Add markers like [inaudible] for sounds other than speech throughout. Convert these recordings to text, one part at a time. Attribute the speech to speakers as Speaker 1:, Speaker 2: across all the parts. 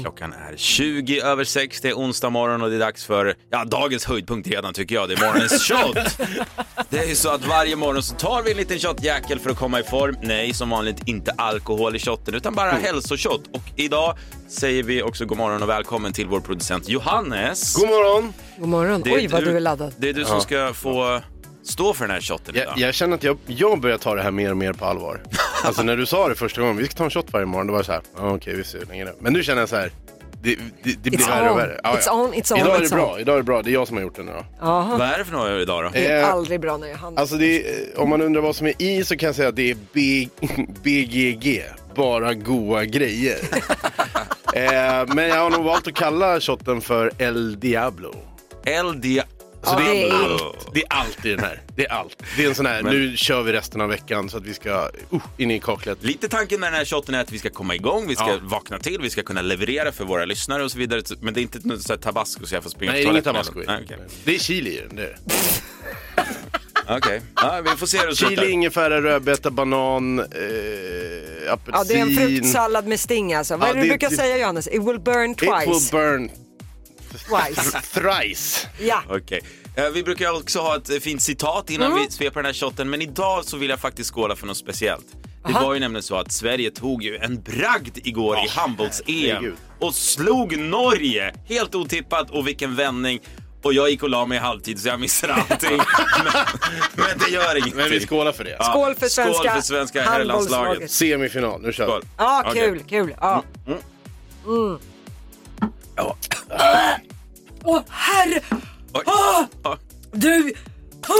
Speaker 1: Klockan är 20 över 6, det är onsdag morgon och det är dags för, ja dagens höjdpunkt redan tycker jag, det är morgonens
Speaker 2: [laughs]
Speaker 1: shot. Det är ju så att varje morgon så tar vi en liten shotjäkel för att komma i form. Nej, som vanligt inte alkohol i shotten utan bara
Speaker 2: Mm.
Speaker 1: hälsoshot. Och idag säger vi också god morgon och välkommen till vår producent Johannes.
Speaker 3: God morgon!
Speaker 2: God morgon.
Speaker 1: Det är
Speaker 2: Oj, vad du är laddad.
Speaker 1: Det är du som ska få stå för den här shotten idag.
Speaker 3: Jag, jag känner att jag, jag börjar ta det här mer och mer på
Speaker 2: [laughs]
Speaker 3: allvar. Alltså när du sa det första gången, vi ska ta en shot varje morgon, då var det så här, ah, okej vi ser hur länge det är. Men nu känner jag så här, det, det, det blir
Speaker 2: It's
Speaker 3: värre
Speaker 2: on.
Speaker 3: och värre. Ja,
Speaker 2: It's
Speaker 3: ja.
Speaker 2: on, it's on,
Speaker 3: idag är
Speaker 2: it's
Speaker 3: det bra,
Speaker 2: on.
Speaker 3: idag är det bra, det är jag som har gjort den idag.
Speaker 2: Jaha,
Speaker 1: Vad är det för något idag då?
Speaker 2: det är
Speaker 3: Eh,
Speaker 2: aldrig bra när jag handlar.
Speaker 3: Alltså det är, om man undrar vad som är i så kan jag säga att det är B, [laughs] BGG, bara goa
Speaker 2: [laughs]
Speaker 3: grejer. eh, men jag har nog valt att kalla shotten för El Diablo.
Speaker 1: LD...
Speaker 3: Så
Speaker 2: Ja,
Speaker 3: det, är
Speaker 2: det är-
Speaker 3: allt. det är allt i den här. Det är allt. Det är en sån här,
Speaker 1: Men-
Speaker 3: nu kör vi resten av veckan så att vi ska uh, in i kaklet.
Speaker 1: Lite tanken med den här shotten är att vi ska komma igång, vi ska
Speaker 3: Ja.
Speaker 1: vakna till, vi ska kunna leverera för våra lyssnare och så vidare. Men det är inte något sånt här tabasco så jag får springa
Speaker 3: Nej,
Speaker 1: på
Speaker 3: det är inget
Speaker 1: toaletten
Speaker 3: tabasco i.
Speaker 1: även. Nej, Okej,
Speaker 3: Det är chili i den. Det är. det.
Speaker 1: Okej. ja, vi får se hur det
Speaker 3: Chili,
Speaker 1: slutar.
Speaker 3: ingefära, rödbeta, banan, eh, apelsin.
Speaker 2: Ja, det är en fruktsallad med sting alltså. Vad
Speaker 3: Ja,
Speaker 2: är det du
Speaker 3: det-
Speaker 2: brukar
Speaker 3: det-
Speaker 2: säga Johannes? It will burn twice.
Speaker 3: It will burn
Speaker 2: Twice.
Speaker 3: thrice.
Speaker 2: Ja.
Speaker 1: Okej. Eh, Vi brukar också ha ett eh, fint citat innan vi sveper den här shotten, men idag så vill jag faktiskt skåla för något speciellt. Det
Speaker 2: Aha.
Speaker 1: var ju nämligen så att Sverige tog ju en bragd igår i handbolls-EM
Speaker 3: herregud.
Speaker 1: och slog Norge! Helt otippat och vilken vändning. Och jag gick och la mig i halvtid så jag missade
Speaker 3: [laughs]
Speaker 1: allting. men, men det gör ingenting.
Speaker 3: Men vi skålar för det.
Speaker 1: Ja,
Speaker 2: Skål för svenska
Speaker 1: för svenska
Speaker 2: handbollslaget.
Speaker 1: herrlandslaget.
Speaker 3: Semifinal, nu kör
Speaker 1: Skål.
Speaker 3: vi.
Speaker 2: Ja,
Speaker 1: Okej.
Speaker 2: kul, kul. Ja. Mm. Åh, herre!
Speaker 1: Oj.
Speaker 2: Ah!
Speaker 1: Oj.
Speaker 2: Du! Ah!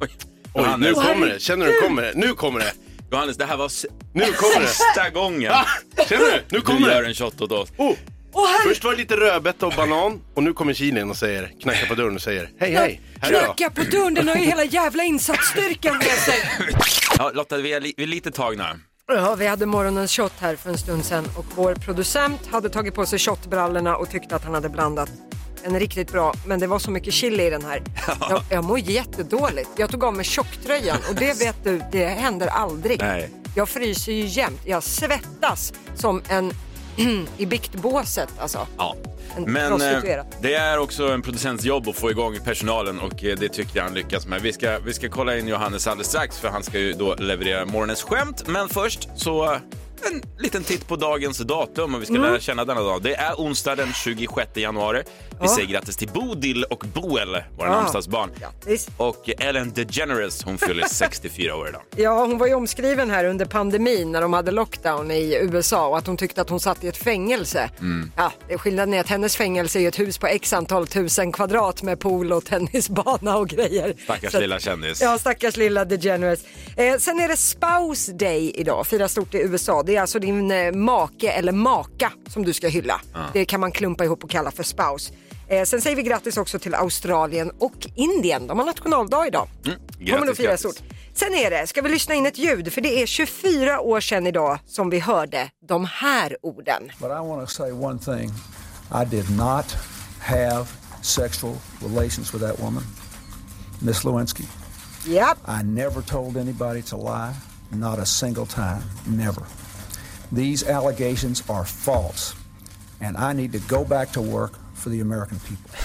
Speaker 1: Oj.
Speaker 3: Oj, nu
Speaker 1: Johannes,
Speaker 3: kommer det. Känner du, kommer det? Nu kommer det.
Speaker 1: Johannes, det här var s-
Speaker 3: Nu kommer det.
Speaker 1: sista gången
Speaker 3: Ah, Känner du? Nu
Speaker 1: du
Speaker 3: kommer
Speaker 1: gör
Speaker 3: det.
Speaker 1: en shot åt oss.
Speaker 3: Oh.
Speaker 2: Åh, herre!
Speaker 3: Först var det lite rödbeta och banan och nu kommer chilin och säger, knackar på dörren och säger hej hej, här är jag.
Speaker 2: Knacka på dörren, den har ju hela jävla insatsstyrkan med sig.
Speaker 1: Ja, Lotta, vi är, li- vi är lite tagna.
Speaker 2: Ja, vi hade morgonens shot här för en stund sedan och vår producent hade tagit på sig shotbrallorna och tyckte att han hade blandat en riktigt bra, men det var så mycket chili i den här. Jag, jag mår jättedåligt. Jag tog av mig tjocktröjan och det vet du, det händer aldrig.
Speaker 1: Nej.
Speaker 2: Jag fryser ju jämt. Jag svettas som en [clears throat] i biktbåset alltså.
Speaker 1: Ja.
Speaker 2: En
Speaker 1: Men eh,
Speaker 2: prostituerad.
Speaker 1: det är också en producents jobb att få igång personalen och eh, det tyckte jag han lyckas med. Vi ska, vi ska kolla in Johannes alldeles strax för han ska ju då leverera morgonens skämt. Men först så eh, en liten titt på dagens datum och vi ska
Speaker 2: Mm.
Speaker 1: lära känna denna dag. Det är onsdag den 26 januari. Vi
Speaker 2: Ja.
Speaker 1: säger grattis till Bodil och Boel, våra
Speaker 2: Ja.
Speaker 1: namnsdagsbarn.
Speaker 2: Grattis.
Speaker 1: Och Ellen DeGeneres, hon
Speaker 2: [laughs]
Speaker 1: fyller 64 år idag.
Speaker 2: Ja, hon var ju omskriven här under pandemin när de hade lockdown i USA och att hon tyckte att hon satt i ett fängelse.
Speaker 1: Mm.
Speaker 2: Ja, det är skillnaden är att hennes fängelse är ett hus på x antal tusen kvadrat med pool och tennisbana och grejer.
Speaker 1: Stackars
Speaker 2: Så att-
Speaker 1: lilla kändis.
Speaker 2: Ja, stackars lilla DeGeneres. Eh, sen är det Spouse Day idag, firas stort i USA. Det är alltså din eh, make eller maka som du ska hylla. Det kan man klumpa ihop och kalla för spouse. Eh, sen säger vi grattis också till Australien och Indien. De har nationaldag idag.
Speaker 1: Mm, grattis,
Speaker 2: Kommer nog firas
Speaker 1: grattis.
Speaker 2: stort. Sen är det, ska vi lyssna in ett ljud? För det är 24 år sedan idag som vi hörde de här orden.
Speaker 4: But I want to say one thing. I did not have sexual relations with that woman, Miss Lewinsky.
Speaker 1: [laughs]
Speaker 2: Ja,
Speaker 4: I never told anybody to lie, not a single time, never. These allegations are false, and I need to go back to work for the American people.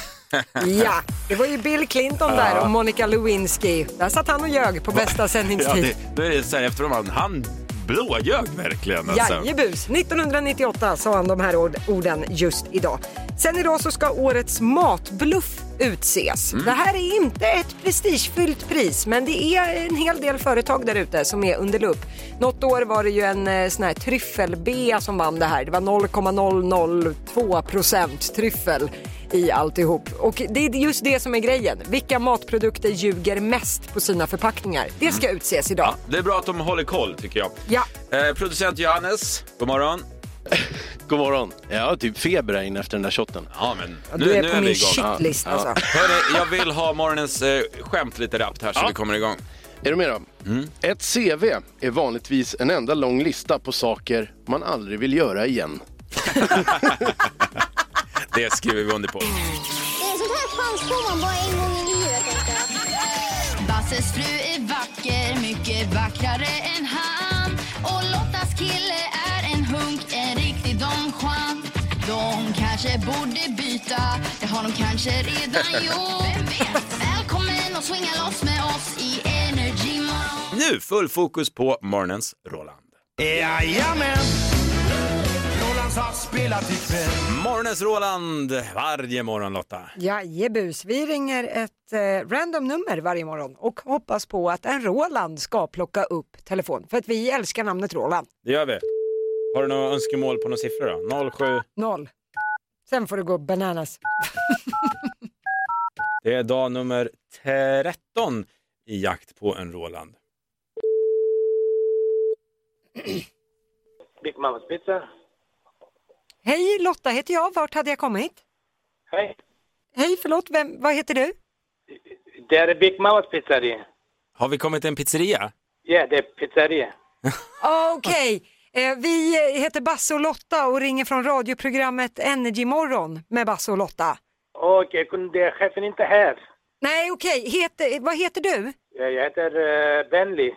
Speaker 2: ja. Det var ju Bill Clinton där och Monica Lewinsky. Där satt han och ljög på
Speaker 1: [laughs]
Speaker 2: bästa
Speaker 1: Ja,
Speaker 2: sändningstid.
Speaker 1: det, då är det så här efter de vann. Han blåljög verkligen. Alltså.
Speaker 2: Jajebus! 1998 sa han de här ord, orden just idag. Sen idag så ska årets matbluff utses. Det här är inte ett prestigefyllt pris, men det är en hel del företag där ute som är under lupp. Något år var det ju en eh, sån här tryffelbea som vann det här. Det var 0,002 procent tryffel i alltihop. Och det är just det som är grejen. Vilka matprodukter ljuger mest på sina förpackningar? Det ska utses idag.
Speaker 1: Det är bra att de håller koll tycker jag.
Speaker 2: Ja.
Speaker 1: Eh, producent Johannes, god morgon.
Speaker 3: God morgon. Jag har typ feber här inne efter den där shotten.
Speaker 1: Ja, men
Speaker 2: Ja, du är på min shitlist
Speaker 3: Ja.
Speaker 2: alltså.
Speaker 1: Hörni, jag vill ha morgonens eh, skämt lite rappt här så vi kommer igång.
Speaker 3: Är du med då? Ett CV är vanligtvis en enda lång lista på saker man aldrig vill göra igen.
Speaker 1: Det skriver vi under på.
Speaker 5: Det är sånt här chans får man bara en gång i livet. tänkte jag.
Speaker 6: Basses fru är vacker, mycket vackrare än han Och Lottas kille är en hunk, en riktig Don Juan Don Hon kanske borde byta, det har hon kanske redan gjort. Vem vet? Välkommen och swinga loss med oss i Energy Morgon.
Speaker 1: Nu full fokus på morgonens Roland.
Speaker 7: Jajamän! Rolands havsspelat ikväll.
Speaker 1: Morgonens Roland varje morgon Lotta.
Speaker 2: Jajebus, vi ringer ett eh, random nummer varje morgon och hoppas på att en Roland ska plocka upp telefon. För att vi älskar namnet Roland.
Speaker 1: Det gör vi. Har du några önskemål på några siffror då? 07.
Speaker 2: Noll. Sen får du gå bananas.
Speaker 1: Det är dag nummer 13 i jakt på en Roland.
Speaker 8: Big Mamas Pizza.
Speaker 2: Hej, Lotta heter jag. Vart hade jag kommit?
Speaker 8: Hej.
Speaker 2: Hej, förlåt, vem, vad heter du?
Speaker 8: Det är Big Mamas pizzeria.
Speaker 1: Har vi kommit till en pizzeria?
Speaker 8: Ja, det är pizzeria.
Speaker 2: Ah, Okej, eh, vi eh, heter Basse och Lotta och ringer från radioprogrammet Energy Morgon med Basse och Lotta.
Speaker 8: Okej, kunde det- chefen inte här?
Speaker 2: Nej, okej, heter, vad heter du?
Speaker 8: Ja, Jag heter uh, Benly.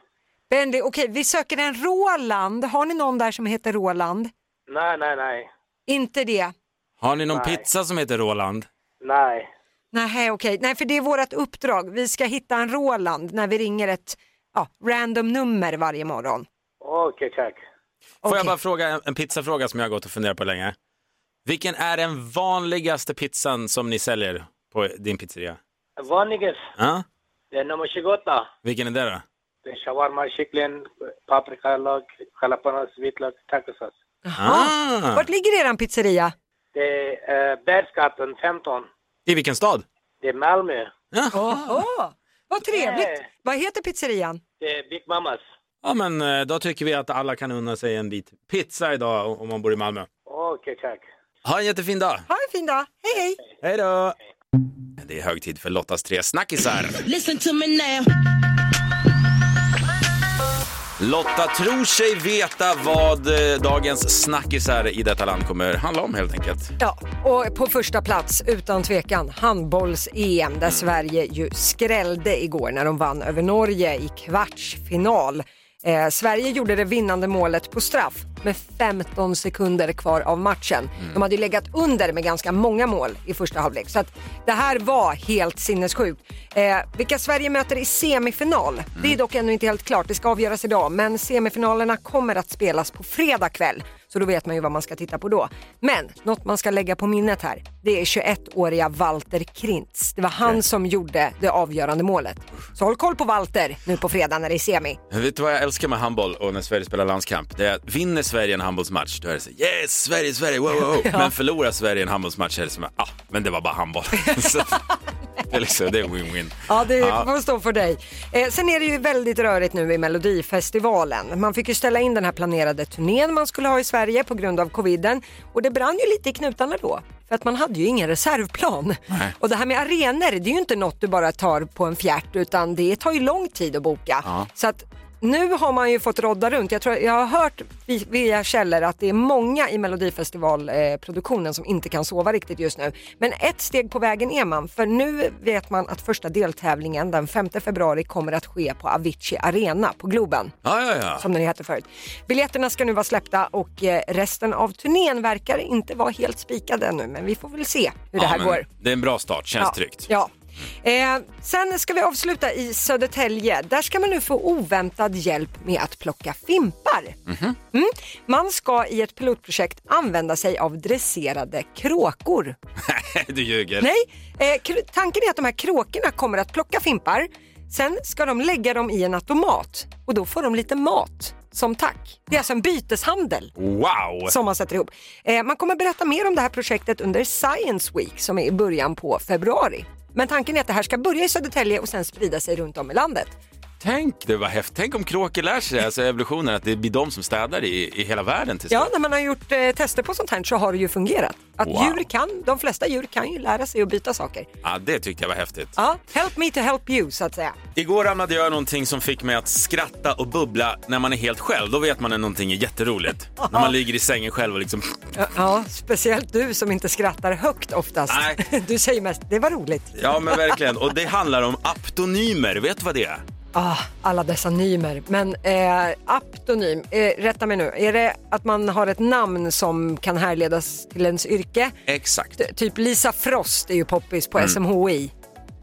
Speaker 2: Bendy, okej, vi söker en Roland. Har ni någon där som heter Roland?
Speaker 8: Nej, nej, nej.
Speaker 2: Inte det.
Speaker 1: Har ni någon
Speaker 8: Nej.
Speaker 1: pizza som heter Roland?
Speaker 8: Nej.
Speaker 2: Nej, okej. Nej, för det är vårt uppdrag. Vi ska hitta en Roland när vi ringer ett ja, random nummer varje morgon.
Speaker 8: Okej, tack.
Speaker 1: Får jag
Speaker 2: Okej.
Speaker 1: bara fråga en- en pizzafråga som jag har gått och funderat på länge? Vilken är den vanligaste pizzan som ni säljer på din pizzeria?
Speaker 8: Vanligast,
Speaker 1: Ja?
Speaker 8: det är nummer 28.
Speaker 1: Vilken är det då?
Speaker 8: Det är shawarma, kyckling, paprikalök, jalapenos, vitlök, tacosås.
Speaker 1: Ah.
Speaker 2: Vart ligger eran pizzeria?
Speaker 8: Det är uh, Bergsgatan 15.
Speaker 1: I vilken stad?
Speaker 8: Det är Malmö.
Speaker 2: Åh, vad trevligt.
Speaker 8: Nej.
Speaker 2: Vad heter pizzerian?
Speaker 8: Det är Big Mamas.
Speaker 1: Ja, men eh, då tycker vi att alla kan unna sig en bit pizza idag o- om man bor i Malmö.
Speaker 8: Okej, tack.
Speaker 1: Ha en jättefin dag!
Speaker 2: Ha en fin dag. Hej, hej.
Speaker 1: Hej då! Det är hög tid för Lottas tre snackisar. Lotta tror sig veta vad eh, dagens snackisar i detta land kommer handla om helt enkelt.
Speaker 2: Ja, och på första plats utan tvekan handbolls-EM där Sverige ju skrällde igår när de vann över Norge i kvartsfinal. Eh, Sverige gjorde det vinnande målet på straff med 15 sekunder kvar av matchen. De hade ju legat under med ganska många mål i första halvlek så att det här var helt sinnessjukt. Eh, vilka Sverige möter i semifinal, det är dock ännu inte helt klart. Det ska avgöras idag men semifinalerna kommer att spelas på fredag kväll. Så då vet man ju vad man ska titta på då. Men något man ska lägga på minnet här, det är 21-åriga Walter Krintz. Det var han som gjorde det avgörande målet. Så håll koll på Walter nu på fredag när det är semi.
Speaker 1: Vet du vad jag älskar med handboll och när Sverige spelar landskamp? Det är att vinner Sverige en handbollsmatch då är det så yes, Sverige, Sverige, wow, wow,
Speaker 2: [laughs]
Speaker 1: wow. Men förlorar Sverige en handbollsmatch är det som ah, men det var bara handboll. [laughs] så, det är liksom, det är win-win.
Speaker 2: Ja, det får stå för dig. Eh, sen är det ju väldigt rörigt nu i Melodifestivalen. Man fick ju ställa in den här planerade turnén man skulle ha i Sverige på grund av coviden och det brann ju lite i knutarna då. För att man hade ju ingen reservplan. Och det här med arenor, det är ju inte något du bara tar på en fjärt utan det tar ju lång tid att boka. Så att nu har man ju fått rodda runt. Jag, tror, jag har hört vi- via källor att det är många i Melodifestivalproduktionen som inte kan sova riktigt just nu. Men ett steg på vägen är man, för nu vet man att första deltävlingen den 5 februari kommer att ske på Avicii Arena på Globen
Speaker 1: Ja, ja, ja.
Speaker 2: som den hette förut. Biljetterna ska nu vara släppta och eh, resten av turnén verkar inte vara helt spikad ännu men vi får väl se hur det
Speaker 1: ja,
Speaker 2: här
Speaker 1: men
Speaker 2: går.
Speaker 1: Det är en bra start, känns
Speaker 2: Ja,
Speaker 1: tryggt.
Speaker 2: Ja. Eh, sen ska vi avsluta i Södertälje. Där ska man nu få oväntad hjälp med att plocka fimpar. Mm. Man ska i ett pilotprojekt använda sig av dresserade kråkor.
Speaker 1: [laughs] du ljuger.
Speaker 2: Nej, eh, kr- tanken är att de här kråkorna kommer att plocka fimpar. Sen ska de lägga dem i en automat och då får de lite mat som tack. Det är alltså en byteshandel
Speaker 1: Wow!
Speaker 2: som man sätter ihop. Eh, man kommer berätta mer om det här projektet under Science Week som är i början på februari. Men tanken är att det här ska börja i Södertälje och sen sprida sig runt om i landet.
Speaker 1: Tänk, det var häftigt. Tänk om kråkor lär sig, alltså evolutionen, att det blir de som städar i, i hela världen till
Speaker 2: Ja,
Speaker 1: slut.
Speaker 2: när man har gjort eh, tester på sånt här så har det ju fungerat. Att
Speaker 1: Wow.
Speaker 2: djur kan, de flesta djur kan ju lära sig att byta saker.
Speaker 1: Ja, det tyckte jag var häftigt.
Speaker 2: Ja, help me to help you så att säga.
Speaker 1: Igår ramlade jag någonting som fick mig att skratta och bubbla när man är helt själv. Då vet man att någonting är jätteroligt. när man ligger i sängen själv och liksom...
Speaker 2: Ja, speciellt du som inte skrattar högt oftast.
Speaker 1: Nej.
Speaker 2: [laughs] Du säger mest det var roligt.
Speaker 1: Ja, men verkligen. Och det handlar om aptonymer. Vet du vad det är?
Speaker 2: Ah, alla dessa nymer. Men eh, aptonym, eh, rätta mig nu, är det att man har ett namn som kan härledas till ens yrke?
Speaker 1: Exakt.
Speaker 2: T- typ Lisa Frost är ju poppis på SMHI.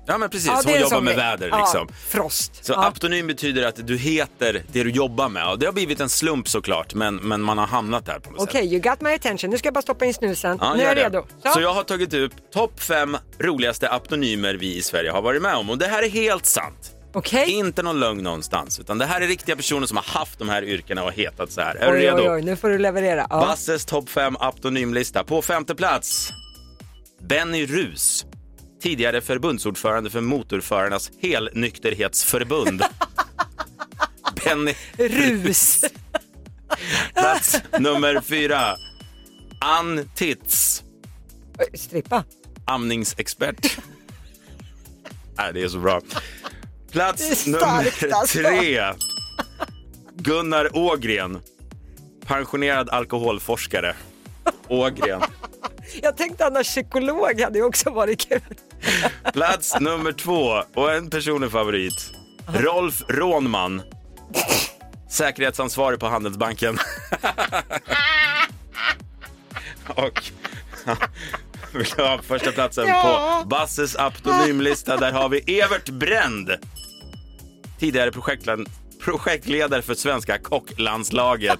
Speaker 1: Ja men precis,
Speaker 2: Ja, det
Speaker 1: Mm.
Speaker 2: är
Speaker 1: hon
Speaker 2: en
Speaker 1: jobbar
Speaker 2: sån
Speaker 1: med
Speaker 2: grej.
Speaker 1: väder
Speaker 2: Ja,
Speaker 1: liksom.
Speaker 2: Frost.
Speaker 1: Så
Speaker 2: ja.
Speaker 1: aptonym betyder att du heter det du jobbar med. Och det har blivit en slump såklart, men, men man har hamnat där på något
Speaker 2: Okej,
Speaker 1: sätt.
Speaker 2: you got my attention. Nu ska jag bara stoppa in snusen.
Speaker 1: Ja,
Speaker 2: nu är
Speaker 1: gör
Speaker 2: jag
Speaker 1: det.
Speaker 2: redo.
Speaker 1: Så. jag har tagit upp topp fem roligaste aptonymer vi i Sverige har varit med om. Och det här är helt sant.
Speaker 2: Okej.
Speaker 1: Inte någon lögn någonstans, utan det här är riktiga personer som har haft de här yrkena och hetat så här. Är du
Speaker 2: Oj,
Speaker 1: redo?
Speaker 2: oj, oj, nu får du leverera. Ja.
Speaker 1: Basses topp 5 aptonymlista. På femte plats, Benny Rus. Tidigare förbundsordförande för Motorförarnas
Speaker 2: [laughs]
Speaker 1: helnykterhetsförbund. Benny
Speaker 2: Rus.
Speaker 1: Plats nummer fyra. Ann Titz,
Speaker 2: Oj, Strippa. [laughs]
Speaker 1: amningsexpert. Nej, det är så bra.
Speaker 2: Det är
Speaker 1: Plats
Speaker 2: starkt,
Speaker 1: nummer
Speaker 2: alltså.
Speaker 1: tre. Gunnar Ågren, pensionerad alkoholforskare. Ågren.
Speaker 2: Jag tänkte annars psykolog hade ju också varit kul.
Speaker 1: Plats nummer två och en personlig favorit. Rolf Rånman. Säkerhetsansvarig på Handelsbanken. [laughs] Och [laughs] vill du ha första platsen på Basses aptonymlista. Där har vi Evert Bränd. Tidigare projektlan- projektledare för svenska
Speaker 5: Eh,
Speaker 1: kocklandslaget.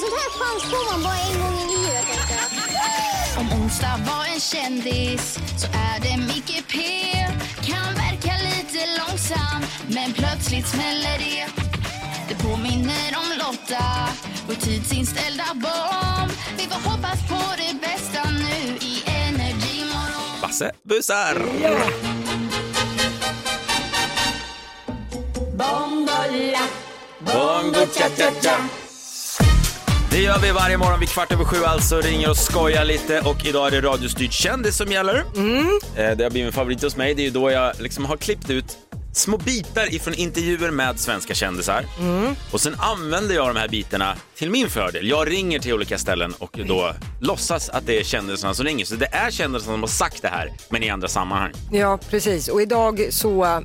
Speaker 5: Sånt här chans får man bara en gång i livet. tänker jag.
Speaker 6: Om onsdag var en kändis så är det Micke P. Kan verka lite långsam men plötsligt smäller det. Det påminner om Lotta, vår tidsinställda bomb. Vi får hoppas på det bästa nu i Energy Morgon.
Speaker 1: Basse busar! Bongo cha cha cha. Det gör vi varje morgon vid kvart över sju alltså, ringer och skojar lite och idag är det radiostyrd kändis som gäller. Eh, Det har blivit en favorit hos mig, det är ju då jag liksom har klippt ut små bitar ifrån intervjuer med svenska kändisar. Och sen använder jag de här bitarna till min fördel. Jag ringer till olika ställen och då låtsas att det är kändisarna som ringer. Så det är kändisarna som har sagt det här, men i andra sammanhang.
Speaker 2: Ja, precis. Och idag så [clears throat] äh,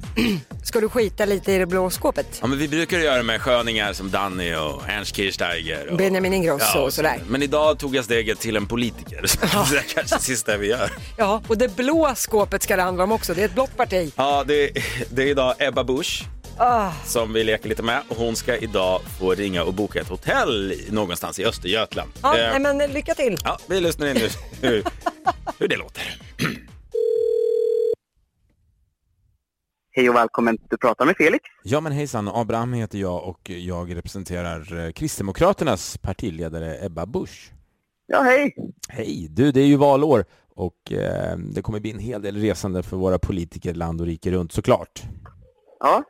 Speaker 2: ska du skita lite i det blå skåpet.
Speaker 1: Ja, men vi brukar göra det med sköningar som Danny och Ernst Kirchsteiger. Och...
Speaker 2: Benjamin Ingrosso och sådär.
Speaker 1: Men idag tog jag steget till en politiker. [laughs] Så det är kanske det sista vi gör.
Speaker 2: Ja, och det blå skåpet ska det handla om också. Det är ett blått parti.
Speaker 1: Ja, det, det är idag Ebba Busch
Speaker 2: Ah.
Speaker 1: som vi leker lite med. Och hon ska idag få ringa och boka ett hotell i- någonstans i Östergötland.
Speaker 2: Ja,
Speaker 1: Eh,
Speaker 2: nej, men lycka till.
Speaker 1: ja, vi lyssnar in nu hur, hur det låter.
Speaker 9: Hej och välkommen. Du pratar med Felix.
Speaker 1: Ja men hejsan, Abraham heter jag och jag representerar eh, Kristdemokraternas partiledare Ebba Busch.
Speaker 9: Ja, hej.
Speaker 1: Hej! Du, det är ju valår och eh, det kommer bli en hel del resande för våra politiker land och rike runt såklart.
Speaker 9: Ja,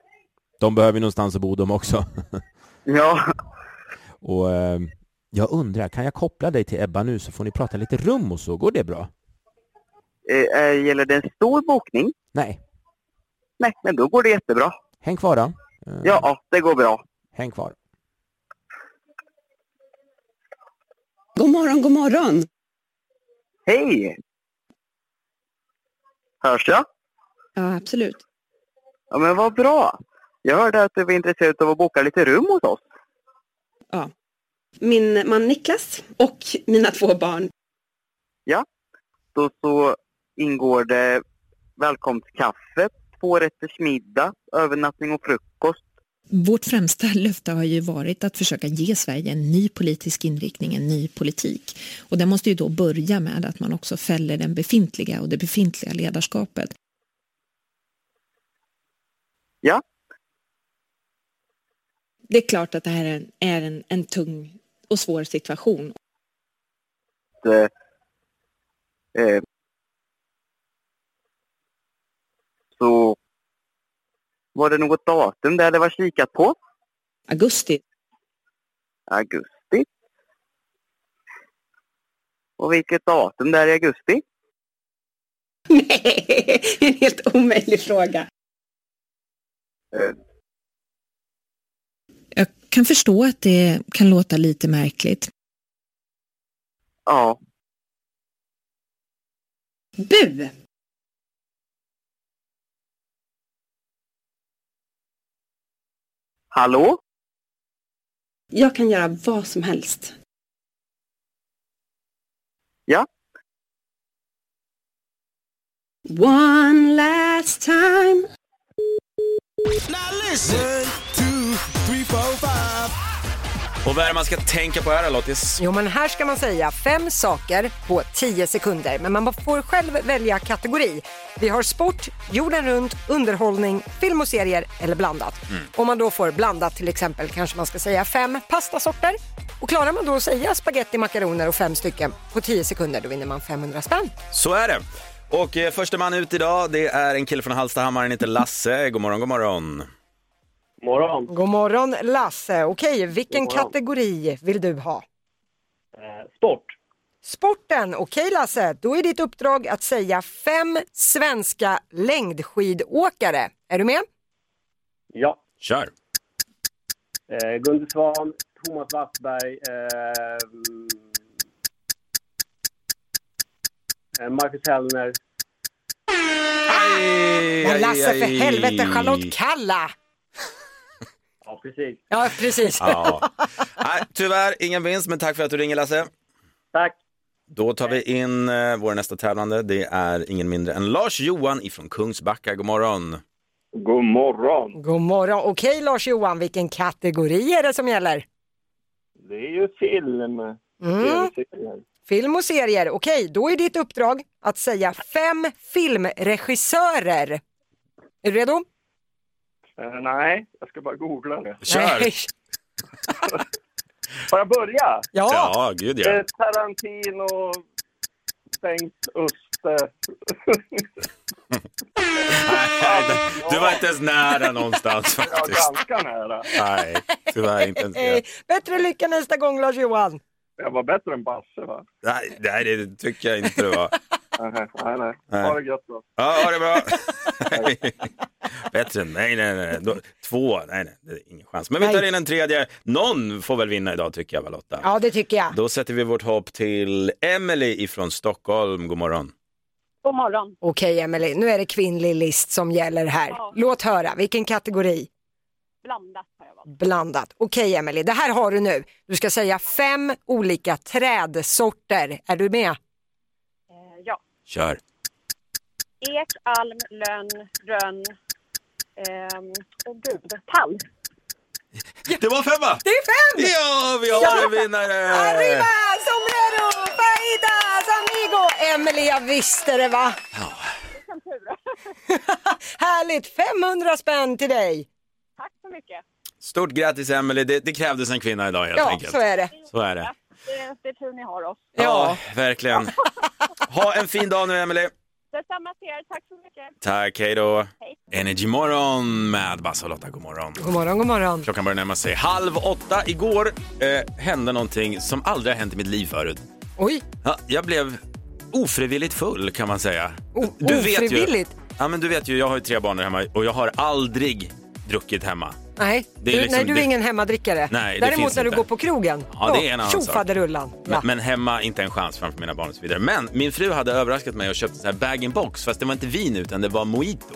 Speaker 1: De behöver ju någonstans att bo de också.
Speaker 9: ja,
Speaker 1: och eh, jag undrar, kan jag koppla dig till Ebba nu så får ni prata lite rum och så, går det bra?
Speaker 9: eh, eh, gäller det en stor bokning?
Speaker 1: Nej,
Speaker 9: Nej, men då går det jättebra.
Speaker 1: häng kvar då. Eh,
Speaker 9: Ja, det går bra.
Speaker 1: Häng kvar.
Speaker 10: God morgon, god morgon.
Speaker 9: Hej! Hörs jag?
Speaker 10: Ja, absolut.
Speaker 9: Ja, men vad bra. Jag hörde att du var intresserad av att boka lite rum hos oss.
Speaker 10: Min man Niklas och mina två barn.
Speaker 9: Då så ingår det välkomstkaffe, två rätters middag, övernattning och frukost.
Speaker 11: Vårt främsta [laughs] löfte har ju varit att försöka ge Sverige en ny politisk inriktning, en ny politik. Och den måste ju då börja med att man också fäller den befintliga och det befintliga
Speaker 10: [laughs]
Speaker 11: ledarskapet.
Speaker 9: Ja.
Speaker 10: Det är klart att det här är en, är en, en tung och svår situation.
Speaker 9: Eh, eh, så var det något datum där det var kikat på?
Speaker 10: Augusti,
Speaker 9: Augusti. Och vilket datum där i augusti?
Speaker 10: nej, en helt omöjlig fråga.
Speaker 9: Eh,
Speaker 11: Jag kan förstå att det kan låta lite märkligt.
Speaker 9: Ja,
Speaker 10: Bu!
Speaker 9: Hallå?
Speaker 10: Jag kan göra vad som helst.
Speaker 9: Ja?
Speaker 10: One last time.
Speaker 1: Och vad är det man ska tänka på här Lottis?
Speaker 2: Jo, men här ska man säga fem saker på 10 sekunder, men man får själv välja kategori. Vi har sport, jorden runt, underhållning, film och serier eller blandat. Om man då får blandat till exempel kanske man ska säga fem pastasorter. Och klarar man då att säga spaghetti, makaroner och fem stycken på 10 sekunder, då vinner man 500 spänn.
Speaker 1: Så är det. Och eh, första man ut idag, det är en kille från Hallstahammar, han heter Lasse. God morgon, god morgon.
Speaker 8: Morgon.
Speaker 2: God morgon Lasse. Okej, vilken kategori vill du ha?
Speaker 8: sport.
Speaker 2: Sporten. Okej Lasse, då är ditt uppdrag att säga fem svenska längdskidåkare. Är du med?
Speaker 8: Ja.
Speaker 1: Kör.
Speaker 8: Eh, Gunde Svan, Thomas Wassberg, eh,
Speaker 12: eh,
Speaker 8: mm, Marcus Hellner.
Speaker 2: Ah! Men Lasse, för helvete, Charlotte Kalla!
Speaker 8: Ja, precis.
Speaker 2: Ja, precis.
Speaker 1: Ja. Nej, tyvärr ingen vinst, men tack för att du ringer Lasse.
Speaker 8: Tack.
Speaker 1: Då tar vi in eh, vår nästa tävlande. Det är ingen mindre än Lars-Johan ifrån Kungsbacka. God morgon.
Speaker 12: God morgon.
Speaker 2: God morgon. Okej Lars-Johan, vilken kategori är det som gäller?
Speaker 12: Det är ju film.
Speaker 2: Mm.
Speaker 12: Tv-serier.
Speaker 2: Film och serier. Okej, då är ditt uppdrag att säga fem filmregissörer. Är du redo?
Speaker 12: Eh, nej, jag ska bara googla nu.
Speaker 2: [laughs] Nej.
Speaker 12: Får jag börja?
Speaker 2: Ja.
Speaker 1: Ja, gud, ja.
Speaker 12: Eh, Tarantino, Bengt [laughs] Öster.
Speaker 1: Du var inte ens nära
Speaker 2: [laughs]
Speaker 1: någonstans
Speaker 12: Ja,
Speaker 1: faktiskt.
Speaker 12: ganska nära.
Speaker 1: Nej, tyvärr inte ens det.
Speaker 2: Hej. Eh, Bättre lycka nästa gång Lars-Johan.
Speaker 12: Jag var bättre än Basse, va?
Speaker 1: Nej, nej, det tycker jag inte det var.
Speaker 12: Nej, nej. nej.
Speaker 1: Nej.
Speaker 12: Ha det gött då.
Speaker 1: Ja, ha det bra. [laughs] Bättre än nej, nej, nej. Då- Två, nej, nej, det är ingen chans. Men vi tar in en tredje. Någon får väl vinna idag tycker jag, va, Lotta?
Speaker 2: Ja, det tycker jag.
Speaker 1: Då sätter vi vårt hopp till Emily ifrån Stockholm. God morgon.
Speaker 13: God morgon.
Speaker 2: Okej Emily, nu är det kvinnlig list som gäller här. Låt höra, vilken kategori?
Speaker 13: Blandat har jag valt.
Speaker 2: Blandat. Okej Emily, det här har du nu. Du ska säga fem olika trädsorter. Är du med?
Speaker 13: Eh, ja.
Speaker 1: Kör.
Speaker 13: Ek, alm, lönn, rönn. Ehm, Åh gud, tall.
Speaker 1: Det var femma!
Speaker 2: Det är fem!
Speaker 1: Ja, vi har en vinnare!
Speaker 2: Arriba, sombrero, fajitas, amigo! Emily, jag visste det va?
Speaker 13: Vilken tur.
Speaker 2: [laughs] Härligt, 500 spänn till dig.
Speaker 13: Tack så mycket.
Speaker 1: Stort grattis Emily. Det, det krävdes en kvinna idag helt
Speaker 2: Ja,
Speaker 1: enkelt.
Speaker 2: så är det.
Speaker 1: Så är det.
Speaker 13: Det, det är tur ni har oss.
Speaker 1: Ja, verkligen. Ha en fin dag nu Emily.
Speaker 13: Detsamma till er. Tack så mycket.
Speaker 1: Tack, hej då. Energy morgon med Basse och Lotta. God morgon.
Speaker 2: God morgon, god morgon.
Speaker 1: Klockan börjar närma sig halv åtta. Igår eh, hände någonting som aldrig har hänt i mitt liv förut.
Speaker 2: Oj.
Speaker 1: Ja, jag blev ofrivilligt full kan man säga.
Speaker 2: O- ofrivilligt?
Speaker 1: Vet ju, ja, men du vet ju, jag har ju tre barn där hemma och jag har aldrig druckit hemma.
Speaker 2: Nej,
Speaker 1: Det är
Speaker 2: du,
Speaker 1: liksom-
Speaker 2: nej, du är
Speaker 1: det-
Speaker 2: ingen hemmadrickare.
Speaker 1: Nej, det
Speaker 2: Däremot
Speaker 1: finns
Speaker 2: när du
Speaker 1: inte.
Speaker 2: går på krogen,
Speaker 1: Ja, det är en annan sak.
Speaker 2: tjofaderullan. Ja.
Speaker 1: Men, men hemma, inte en chans framför mina barn och så vidare. Men min fru hade överraskat mig och köpt en sån här bag-in-box, fast det var inte vin utan det var
Speaker 2: [laughs]
Speaker 1: mojito.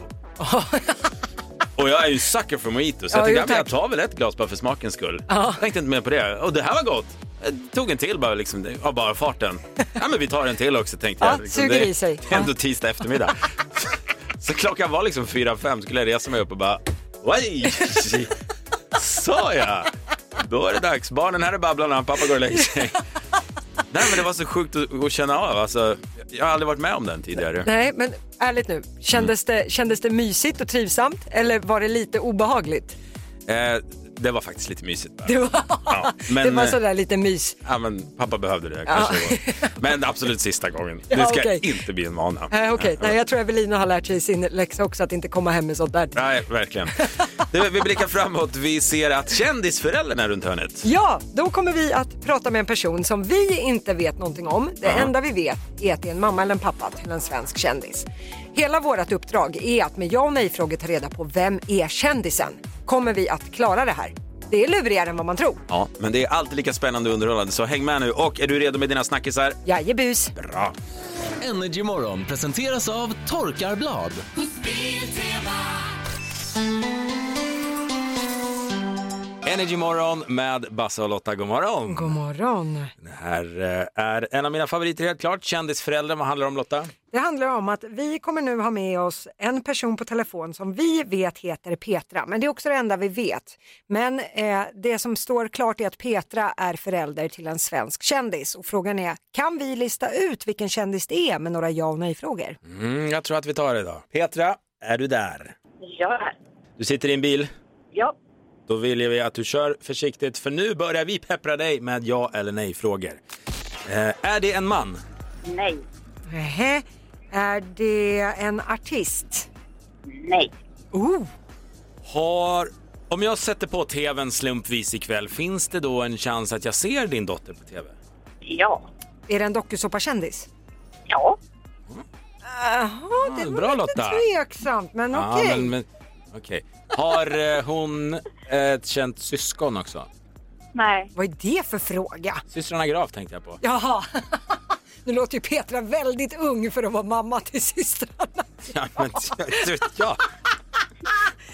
Speaker 1: och jag är ju sucker för mojito, så
Speaker 2: Ja,
Speaker 1: jag
Speaker 2: jo,
Speaker 1: tänkte ja, men jag
Speaker 2: tack.
Speaker 1: tar väl ett glas bara för smakens skull. Tänkte inte mer på det. Och det här var gott. Jag tog en till bara liksom, av bara
Speaker 2: [laughs]
Speaker 1: farten. Ja, men vi tar en till också tänkte
Speaker 2: Ja,
Speaker 1: jag. Liksom,
Speaker 2: suger
Speaker 1: det,
Speaker 2: i sig.
Speaker 1: det är ändå tisdag
Speaker 2: [laughs]
Speaker 1: eftermiddag. så klockan var liksom fyra, fem, skulle jag resa mig upp och bara,
Speaker 2: [laughs]
Speaker 1: oj, sa jag. Då är det dags. Barnen här är Babblarna, pappa går och lägger sig. Nej, men det var så sjukt att, att känna av. Alltså, jag har aldrig varit med om den tidigare.
Speaker 2: Nej, men ärligt nu, kändes,
Speaker 1: Mm.
Speaker 2: det, kändes det mysigt och trivsamt eller var det lite obehagligt?
Speaker 1: Eh, det var faktiskt lite mysigt. Bara.
Speaker 2: Det var,
Speaker 1: Ja, men,
Speaker 2: det var
Speaker 1: eh,
Speaker 2: sådär lite mys.
Speaker 1: ja, men, pappa behövde det
Speaker 2: Ja.
Speaker 1: kanske. det var. Men absolut sista gången.
Speaker 2: Ja,
Speaker 1: Det ska
Speaker 2: okej.
Speaker 1: inte bli en vana.
Speaker 2: Eh, Okej, nej, jag tror Evelina har lärt sig sin läxa också att inte komma hem med sånt där.
Speaker 1: Nej, verkligen. Du, vi blickar framåt. Vi ser att kändisföräldern är runt hörnet.
Speaker 2: Ja, då kommer vi att prata med en person som vi inte vet någonting om. Det
Speaker 1: Ja.
Speaker 2: enda vi vet är att det är en mamma eller en pappa till en svensk kändis. Hela vårt uppdrag är att med ja och nej-frågor ta reda på vem är kändisen? Kommer vi att klara det här? Det är lurigare än vad man tror.
Speaker 1: Ja, men det är alltid lika spännande och underhållande, så häng med nu. Och är du redo med dina snackisar?
Speaker 2: Jajebus!
Speaker 1: Bra.
Speaker 14: Energy Morgon presenteras av Torkarblad.
Speaker 1: Energymorgon med Basse och Lotta. God morgon.
Speaker 2: God morgon.
Speaker 1: Det här eh, är en av mina favoriter helt klart. Kändisföräldrar, vad handlar det om Lotta?
Speaker 2: Det handlar om att vi kommer nu ha med oss en person på telefon som vi vet heter Petra, men det är också det enda vi vet. Men eh, det som står klart är att Petra är förälder till en svensk kändis och frågan är, kan vi lista ut vilken kändis det är med några ja och nej-frågor?
Speaker 1: Mm, jag tror att vi tar det idag. Petra, är du där?
Speaker 13: Ja.
Speaker 1: Du sitter i en bil.
Speaker 13: Ja.
Speaker 1: Då vill vi att du kör försiktigt för nu börjar vi peppra dig med ja eller nej-frågor. Eh, är det en man?
Speaker 13: Nej.
Speaker 1: Mm.
Speaker 2: Nähä, Eh, är det en artist?
Speaker 13: Nej.
Speaker 2: Oh,
Speaker 1: Har... Om jag sätter på tvn slumpvis ikväll, finns det då en chans att jag ser din dotter på tv?
Speaker 13: Ja.
Speaker 2: är det en dokusåpakändis?
Speaker 13: Ja.
Speaker 2: Jaha, det var
Speaker 1: Ah, bra,
Speaker 2: lite
Speaker 1: Lotta.
Speaker 2: tveksamt, men
Speaker 1: Ja,
Speaker 2: okej.
Speaker 1: men, men, okej. Har eh, hon ett känt syskon också?
Speaker 13: Nej.
Speaker 2: Vad är det för fråga?
Speaker 1: Systrarna Graf tänkte jag på.
Speaker 2: Jaha. [laughs] Nu låter ju Petra väldigt ung för att vara mamma till systrarna.
Speaker 1: Ja, men, ja.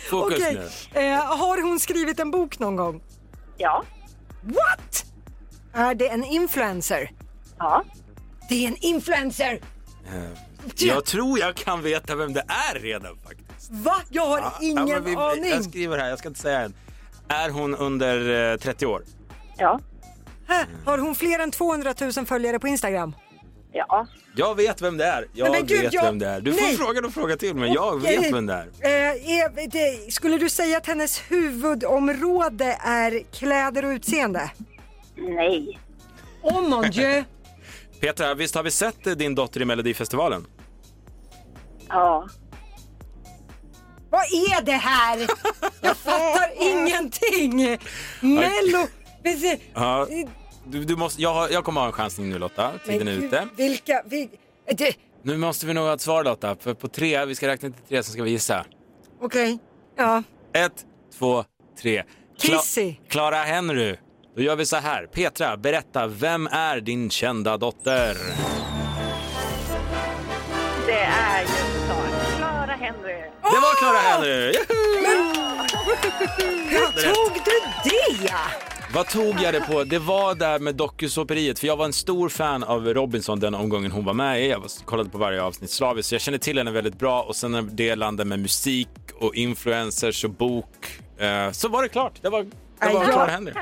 Speaker 1: Fokus
Speaker 2: Okej.
Speaker 1: nu.
Speaker 2: Eh, har hon skrivit en bok någon gång?
Speaker 13: Ja.
Speaker 2: What? Är det en influencer?
Speaker 13: Ja.
Speaker 2: Det är en influencer!
Speaker 1: Eh, Jag tror jag kan veta vem det är redan faktiskt.
Speaker 2: Va? Jag har
Speaker 1: Ja, ja,
Speaker 2: ingen
Speaker 1: men vi-
Speaker 2: aning.
Speaker 1: Jag skriver här, jag ska inte säga än. Är hon under eh, 30 år?
Speaker 13: Ja.
Speaker 2: Hä? Har hon fler än 200 000 följare på Instagram?
Speaker 13: Ja.
Speaker 1: Jag vet vem det är. Jag
Speaker 2: Nej, men gud,
Speaker 1: vet
Speaker 2: jag-
Speaker 1: vem det är. Du får
Speaker 2: Nej.
Speaker 1: fråga och fråga till men jag
Speaker 2: Okej.
Speaker 1: vet vem det är.
Speaker 2: Eh, är det, skulle du säga att hennes huvudområde är kläder och utseende?
Speaker 13: Nej.
Speaker 2: Oh mon dieu!
Speaker 1: Petra, visst har vi sett eh, din dotter i Melodifestivalen?
Speaker 13: Ja.
Speaker 2: Vad är det här?
Speaker 1: [laughs]
Speaker 2: Jag fattar ingenting! Mello... Men se-
Speaker 1: Ja. Du, du måste, jag, har- jag kommer ha en chansning nu Lotta, tiden är
Speaker 2: Eh. Men gud,
Speaker 1: ute.
Speaker 2: Vilka... Vi, det,
Speaker 1: Nu måste vi nog ha ett svar Lotta, för på tre, vi ska räkna till tre så ska vi gissa.
Speaker 2: Okej. Ja.
Speaker 1: Ett, två, tre.
Speaker 2: Kissy.
Speaker 1: Klara Henry. Då gör vi så här. Petra, berätta, vem är din kända dotter?
Speaker 13: Det är ju såklart Clara Henry.
Speaker 1: Det var Klara Henry!
Speaker 2: Hur tog du det?
Speaker 1: Vad tog jag det på? Det var där med dokusåperiet, för jag var en stor fan av Robinson den omgången hon var med i. Jag var- kollade på varje avsnitt slaviskt, så jag kände till henne väldigt bra. Och sen när det landade med musik och influencers och bok, eh, så var det klart. Det var, det var
Speaker 2: Nej,
Speaker 1: Clara
Speaker 2: jag-
Speaker 1: Henry.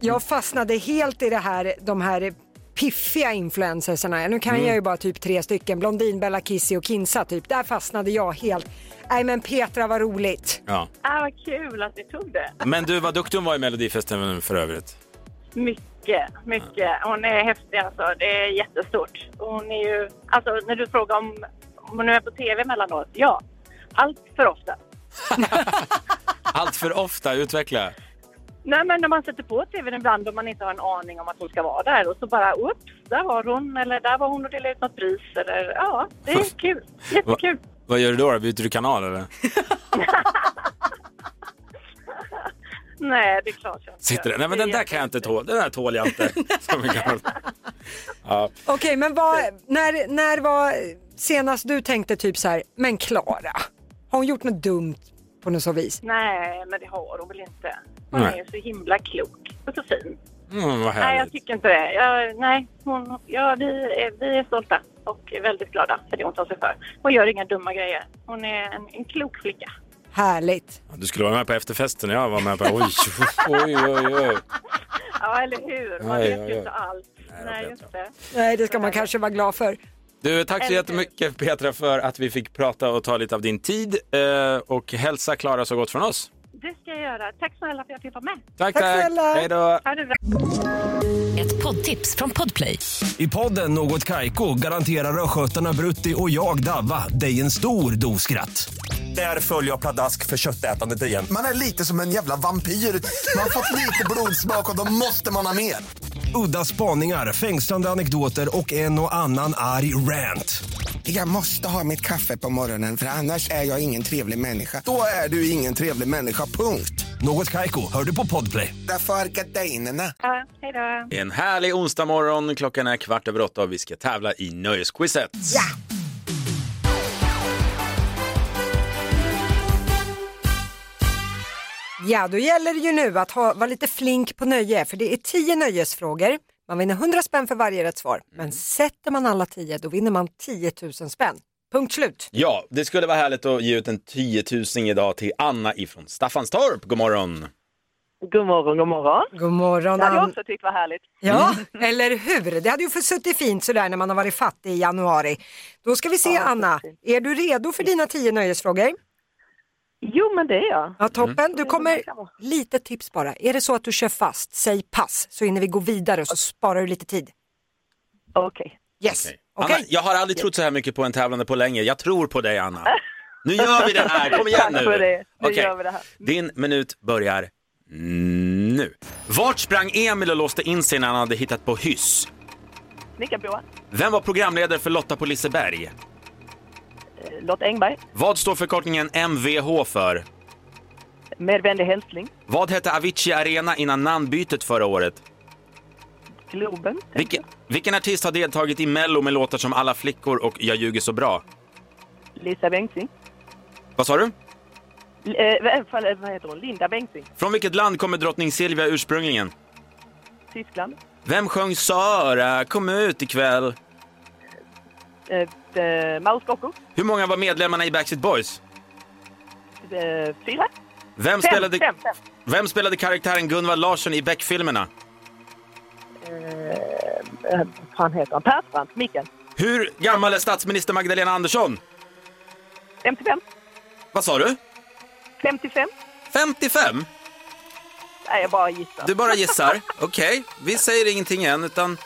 Speaker 2: Jag fastnade helt i det här, de här piffiga influencersarna. Nu kan
Speaker 1: Mm.
Speaker 2: jag ju bara typ tre stycken. Blondin, Bella Kissi och Kinsa typ. Där fastnade jag helt. Nej men Petra var roligt.
Speaker 1: Ja.
Speaker 13: Ah, vad kul att ni tog det.
Speaker 1: Men du, vad duktig hon var i Melodifestivalen för övrigt.
Speaker 13: Mycket, mycket. Hon är häftig alltså. Det är jättestort. Hon är ju, alltså när du frågar om, om hon är på tv emellanåt. Ja, allt för ofta.
Speaker 1: Allt för ofta, utveckla.
Speaker 13: Nej men när man sätter på tvn ibland och man inte har en aning om att hon ska vara där och så bara oops, där var hon eller där var hon och delade ut något pris eller ja, det är kul. Jättekul.
Speaker 1: Vad gör du då? då? Byter du kanal eller?
Speaker 13: [laughs] Nej, det är klart jag inte gör.
Speaker 1: Sitter den? Nej men den där kan jag inte tåla, den där tål
Speaker 13: [laughs]
Speaker 1: jag inte. Som en gammal- ja.
Speaker 2: Okej men vad, Eh, när, när var senast du tänkte typ så här, men Klara, har hon gjort något dumt på något så vis?
Speaker 13: Nej, men det har hon väl inte. Hon
Speaker 2: Nej.
Speaker 13: är ju så himla klok och så fin.
Speaker 1: Mm, vad
Speaker 13: Nej, jag
Speaker 1: härligt.
Speaker 13: tycker inte det. Jag, nej, hon, ja, vi, är, vi är stolta och är väldigt glada för det hon tar sig för. Hon gör inga dumma grejer. Hon är en, en klok flicka.
Speaker 2: Härligt.
Speaker 1: Du skulle vara med på efterfesten jag var med på. Oj, oj, oj. oj.
Speaker 13: [laughs] Ja, eller hur? Man
Speaker 1: Aj,
Speaker 13: vet
Speaker 1: aj,
Speaker 13: ju
Speaker 1: aj.
Speaker 13: inte allt. Nej, just det.
Speaker 2: Nej det ska man kanske vara glad för.
Speaker 1: Du, tack så jättemycket Petra för att vi fick prata och ta lite av din tid. Eh, och hälsa Klara så gott från oss.
Speaker 13: Det ska jag göra. Tack snälla för att jag fick vara med.
Speaker 1: Tack, Tack tack. snälla. Hej då.
Speaker 13: Ha det bra.
Speaker 15: Ett poddtips från Podplay.
Speaker 16: I podden Något Kaiko garanterar östgötarna Brutti och jag, Davva, dig en stor dos skratt. Där följer jag pladask för köttätandet igen.
Speaker 7: Man är lite som en jävla vampyr. Man har fått lite blodsmak och då måste man ha mer.
Speaker 16: Udda spaningar, fängslande anekdoter och en och annan arg rant.
Speaker 7: Jag måste ha mitt kaffe på morgonen för annars är jag ingen trevlig människa. Då är du ingen trevlig människa, punkt.
Speaker 16: Något Kaiko, hör du på podplay.
Speaker 7: Därför är gardinerna.
Speaker 13: Ja, hej då.
Speaker 1: En härlig onsdag morgon. Klockan är kvart över åtta och vi ska tävla i Nöjesquizet. Ja!
Speaker 2: Ja, då gäller det ju nu att ha, vara lite flink på nöje, för det är tio nöjesfrågor. Man vinner 100 spänn för varje rätt svar, men sätter man alla tio, då vinner man 10 000 spänn. Punkt slut.
Speaker 1: Ja, det skulle vara härligt att ge ut en 10 000 idag till Anna ifrån Staffanstorp. God morgon!
Speaker 17: God morgon, god morgon.
Speaker 2: God morgon,
Speaker 17: Det hade jag
Speaker 2: Ann.
Speaker 17: också tyckt var härligt.
Speaker 2: Ja, [laughs] eller hur? Det hade ju försuttit fint sådär när man har varit fattig i januari. Då ska vi se, Anna, är du redo för dina tio nöjesfrågor?
Speaker 17: Jo, men det är jag. Mm.
Speaker 2: Ja, toppen. Du kommer, lite tips bara. Är det så att du kör fast, säg pass, så hinner vi gå vidare och så sparar du lite tid.
Speaker 17: Okej.
Speaker 2: Yes. Okej.
Speaker 1: Anna, jag har aldrig trott så här mycket på en tävlande på länge. Jag tror på dig, Anna.
Speaker 17: [laughs]
Speaker 1: Nu gör vi det här, kom igen nu!
Speaker 17: Tack för det. Nu
Speaker 1: Okej.
Speaker 17: gör vi det här. Mm.
Speaker 1: Din minut börjar nu. Vart sprang Emil och låste in sig när han hade hittat på hyss?
Speaker 17: Snickarbror,
Speaker 1: Vem var programledare för Lotta på Liseberg?
Speaker 17: eh, Lotta Engberg,
Speaker 1: Vad står förkortningen MVH för?
Speaker 17: med vänlig hälsning,
Speaker 1: Vad hette Avicii Arena innan namnbytet förra året?
Speaker 17: Globen,
Speaker 1: Vilken, vilken artist har deltagit i Mello med låtar som Alla flickor och Jag ljuger så bra?
Speaker 17: Lisa Bengtzing,
Speaker 1: Vad sa du?
Speaker 17: L- eh, vad- vad vad heter hon? Linda Bengtzing,
Speaker 1: Från vilket land kommer drottning Silvia ursprungligen?
Speaker 17: Tyskland,
Speaker 1: Vem sjöng Sara, kom ut ikväll?
Speaker 17: eh, eh, Mauro Scocco,
Speaker 1: Hur många var medlemmarna i Backstreet Boys?
Speaker 17: eh, fyra, fem,
Speaker 1: Vem spelade,
Speaker 17: fem, fem.
Speaker 1: Vem spelade karaktären Gunvald Larsson i Beck-filmerna?
Speaker 17: Eh, eh, vad fan heter han? Persbrandt, Mikael,
Speaker 1: Hur gammal är statsminister Magdalena Andersson?
Speaker 17: 55,
Speaker 1: Vad sa du?
Speaker 17: 55.
Speaker 1: 55?
Speaker 17: Nej, jag bara gissar.
Speaker 1: Du bara gissar? Okej, vi säger ingenting än utan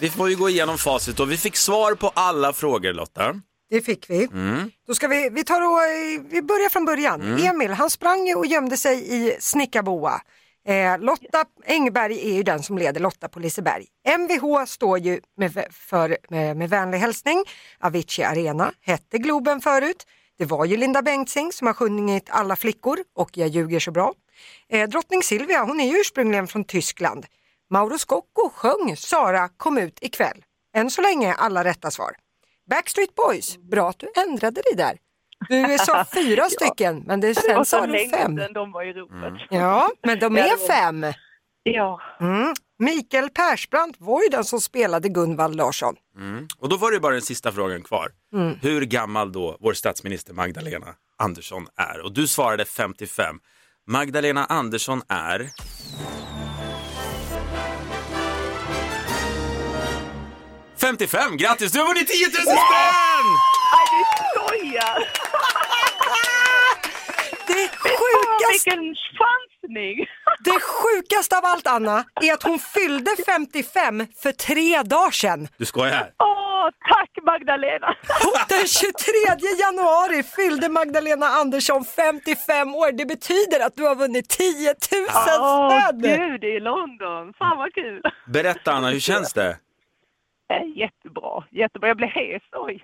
Speaker 1: vi får ju gå igenom facit och vi fick svar på alla frågor Lotta.
Speaker 2: Det fick vi.
Speaker 1: Mm.
Speaker 2: Då ska vi, vi, tar och, eh, vi börjar från början.
Speaker 1: Mm.
Speaker 2: Emil, han sprang ju och gömde sig i Snickarboa. Eh, Lotta Engberg är ju den som leder Lotta på Liseberg. MVH står ju med, för, med, med vänlig hälsning. Avicii Arena hette Globen förut. Det var ju Linda Bengtzing som har sjungit Alla flickor och Jag ljuger så bra. Eh, Drottning Silvia, hon är ju ursprungligen från Tyskland. Mauro Scocco sjöng Sara kom ut ikväll. Än så länge alla rätta svar. Backstreet Boys, bra att du ändrade dig där.
Speaker 17: [laughs]
Speaker 2: Du sa fyra
Speaker 17: Ja.
Speaker 2: stycken, men det
Speaker 17: Det var så
Speaker 2: sen sa du
Speaker 17: länge
Speaker 2: fem.
Speaker 17: sedan de var i ropet.
Speaker 1: Mm.
Speaker 2: Ja, men
Speaker 17: [laughs]
Speaker 2: de
Speaker 17: Ja, det
Speaker 2: är
Speaker 17: var-
Speaker 2: fem.
Speaker 17: Ja.
Speaker 2: Mm. Mikael Persbrandt var ju den som spelade Gunvald Larsson.
Speaker 1: Mm. Och då var det bara den sista frågan kvar.
Speaker 2: Mm.
Speaker 1: Hur gammal då vår statsminister Magdalena Andersson är? Och du svarade 55. Magdalena Andersson är... ...55! Grattis, du har vunnit 10 000 spänn!
Speaker 17: Nej, du skojar!
Speaker 2: Det
Speaker 17: sjukaste... Vilken chansning!
Speaker 2: Det sjukaste av allt, Anna, är att hon fyllde 55 för tre dagar sedan.
Speaker 1: Du skojar?
Speaker 17: Åh, tack Magdalena!
Speaker 2: Den 23 januari fyllde Magdalena Andersson 55 år. Det betyder att du har vunnit 10 000
Speaker 17: Åh,
Speaker 2: spänn!
Speaker 17: gud i London. Fan vad kul!
Speaker 1: Berätta Anna, hur känns det?
Speaker 17: Eh, [laughs] Jättebra, jättebra. Jag blev hes, oj.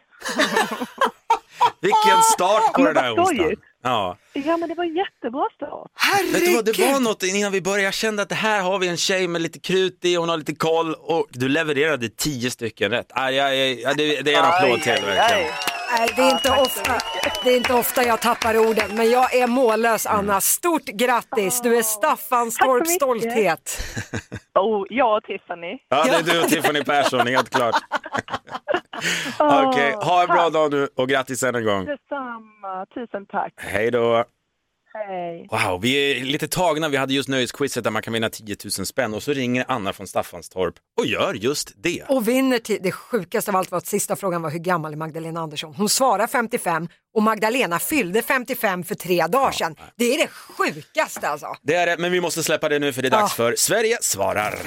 Speaker 1: Vilken start på
Speaker 17: Men
Speaker 1: den här
Speaker 17: vad
Speaker 1: onsdagen.
Speaker 17: skojigt.
Speaker 1: Ja.
Speaker 17: Ja, men det var en jättebra start.
Speaker 1: Vet du vad, det var något innan vi började, jag kände att det här har vi en tjej med lite krut i, hon har lite koll och du levererade 10 stycken rätt. Aj, aj, aj, ja, det, det är en applåd till verkligen.
Speaker 2: Nej, det, är inte ofta, det är inte ofta jag tappar orden, men jag är mållös, Anna. Stort grattis! Du är Staffanstorps
Speaker 17: mycket.
Speaker 2: stolthet.
Speaker 17: Oh, jag och Tiffany.
Speaker 1: Ja, det är du och Tiffany Persson, helt
Speaker 17: [laughs]
Speaker 1: klart. Okej, ha en bra dag nu och grattis än en gång.
Speaker 17: Detsamma, tusen tack.
Speaker 1: Hej då.
Speaker 17: Hej.
Speaker 1: Wow, vi är lite tagna. Vi hade just nöjesquizet där man kan vinna 10 000 spänn och så ringer Anna från Staffanstorp och gör just det.
Speaker 2: Och vinner till, det sjukaste av allt var att sista frågan var hur gammal är Magdalena Andersson? Hon svarar 55 och Magdalena fyllde 55 för tre dagar sedan. Det är det sjukaste alltså.
Speaker 1: Det är det, men vi måste släppa det nu för det är
Speaker 2: Ja.
Speaker 17: Ah.
Speaker 1: dags för Sverige svarar.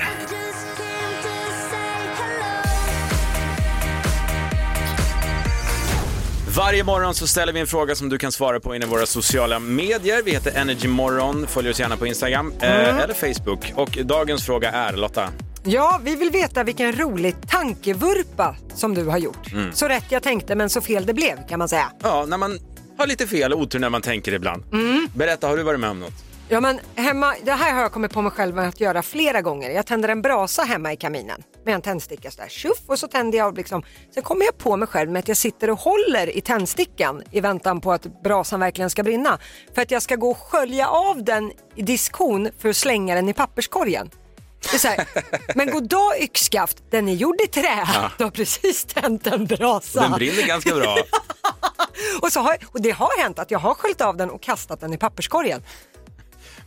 Speaker 1: Varje morgon så ställer vi en fråga som du kan svara på inom våra sociala medier. Vi heter Energymorgon, följ oss gärna på Instagram
Speaker 2: Mm.
Speaker 1: eh, eller Facebook. Och dagens fråga är, Lotta,
Speaker 2: Ja, vi vill veta vilken rolig tankevurpa som du har gjort.
Speaker 1: Mm.
Speaker 2: Så rätt jag tänkte men så fel det blev kan man säga. Mm.
Speaker 1: ja, när man har lite fel och otur när man tänker ibland. Berätta, har du varit med om något?
Speaker 2: Ja, men hemma, det här har jag kommit på mig själv att göra flera gånger. Jag tänder en brasa hemma i kaminen med en tändsticka så där, tjuff, och så tänder jag liksom. Sen kommer jag på mig själv med att jag sitter och håller i tändstickan i väntan på att brasan verkligen ska brinna. För att jag ska gå och skölja av den i diskon för att slänga den i papperskorgen. Det är
Speaker 1: [laughs]
Speaker 2: så här, men goddag yxskaft, den är gjord i trä.
Speaker 1: Ja.
Speaker 2: [laughs] Du har precis tänt en brasa.
Speaker 1: Den brinner ganska bra.
Speaker 2: [laughs] Och, så har, och det har hänt att jag har sköljt av den och kastat den i papperskorgen.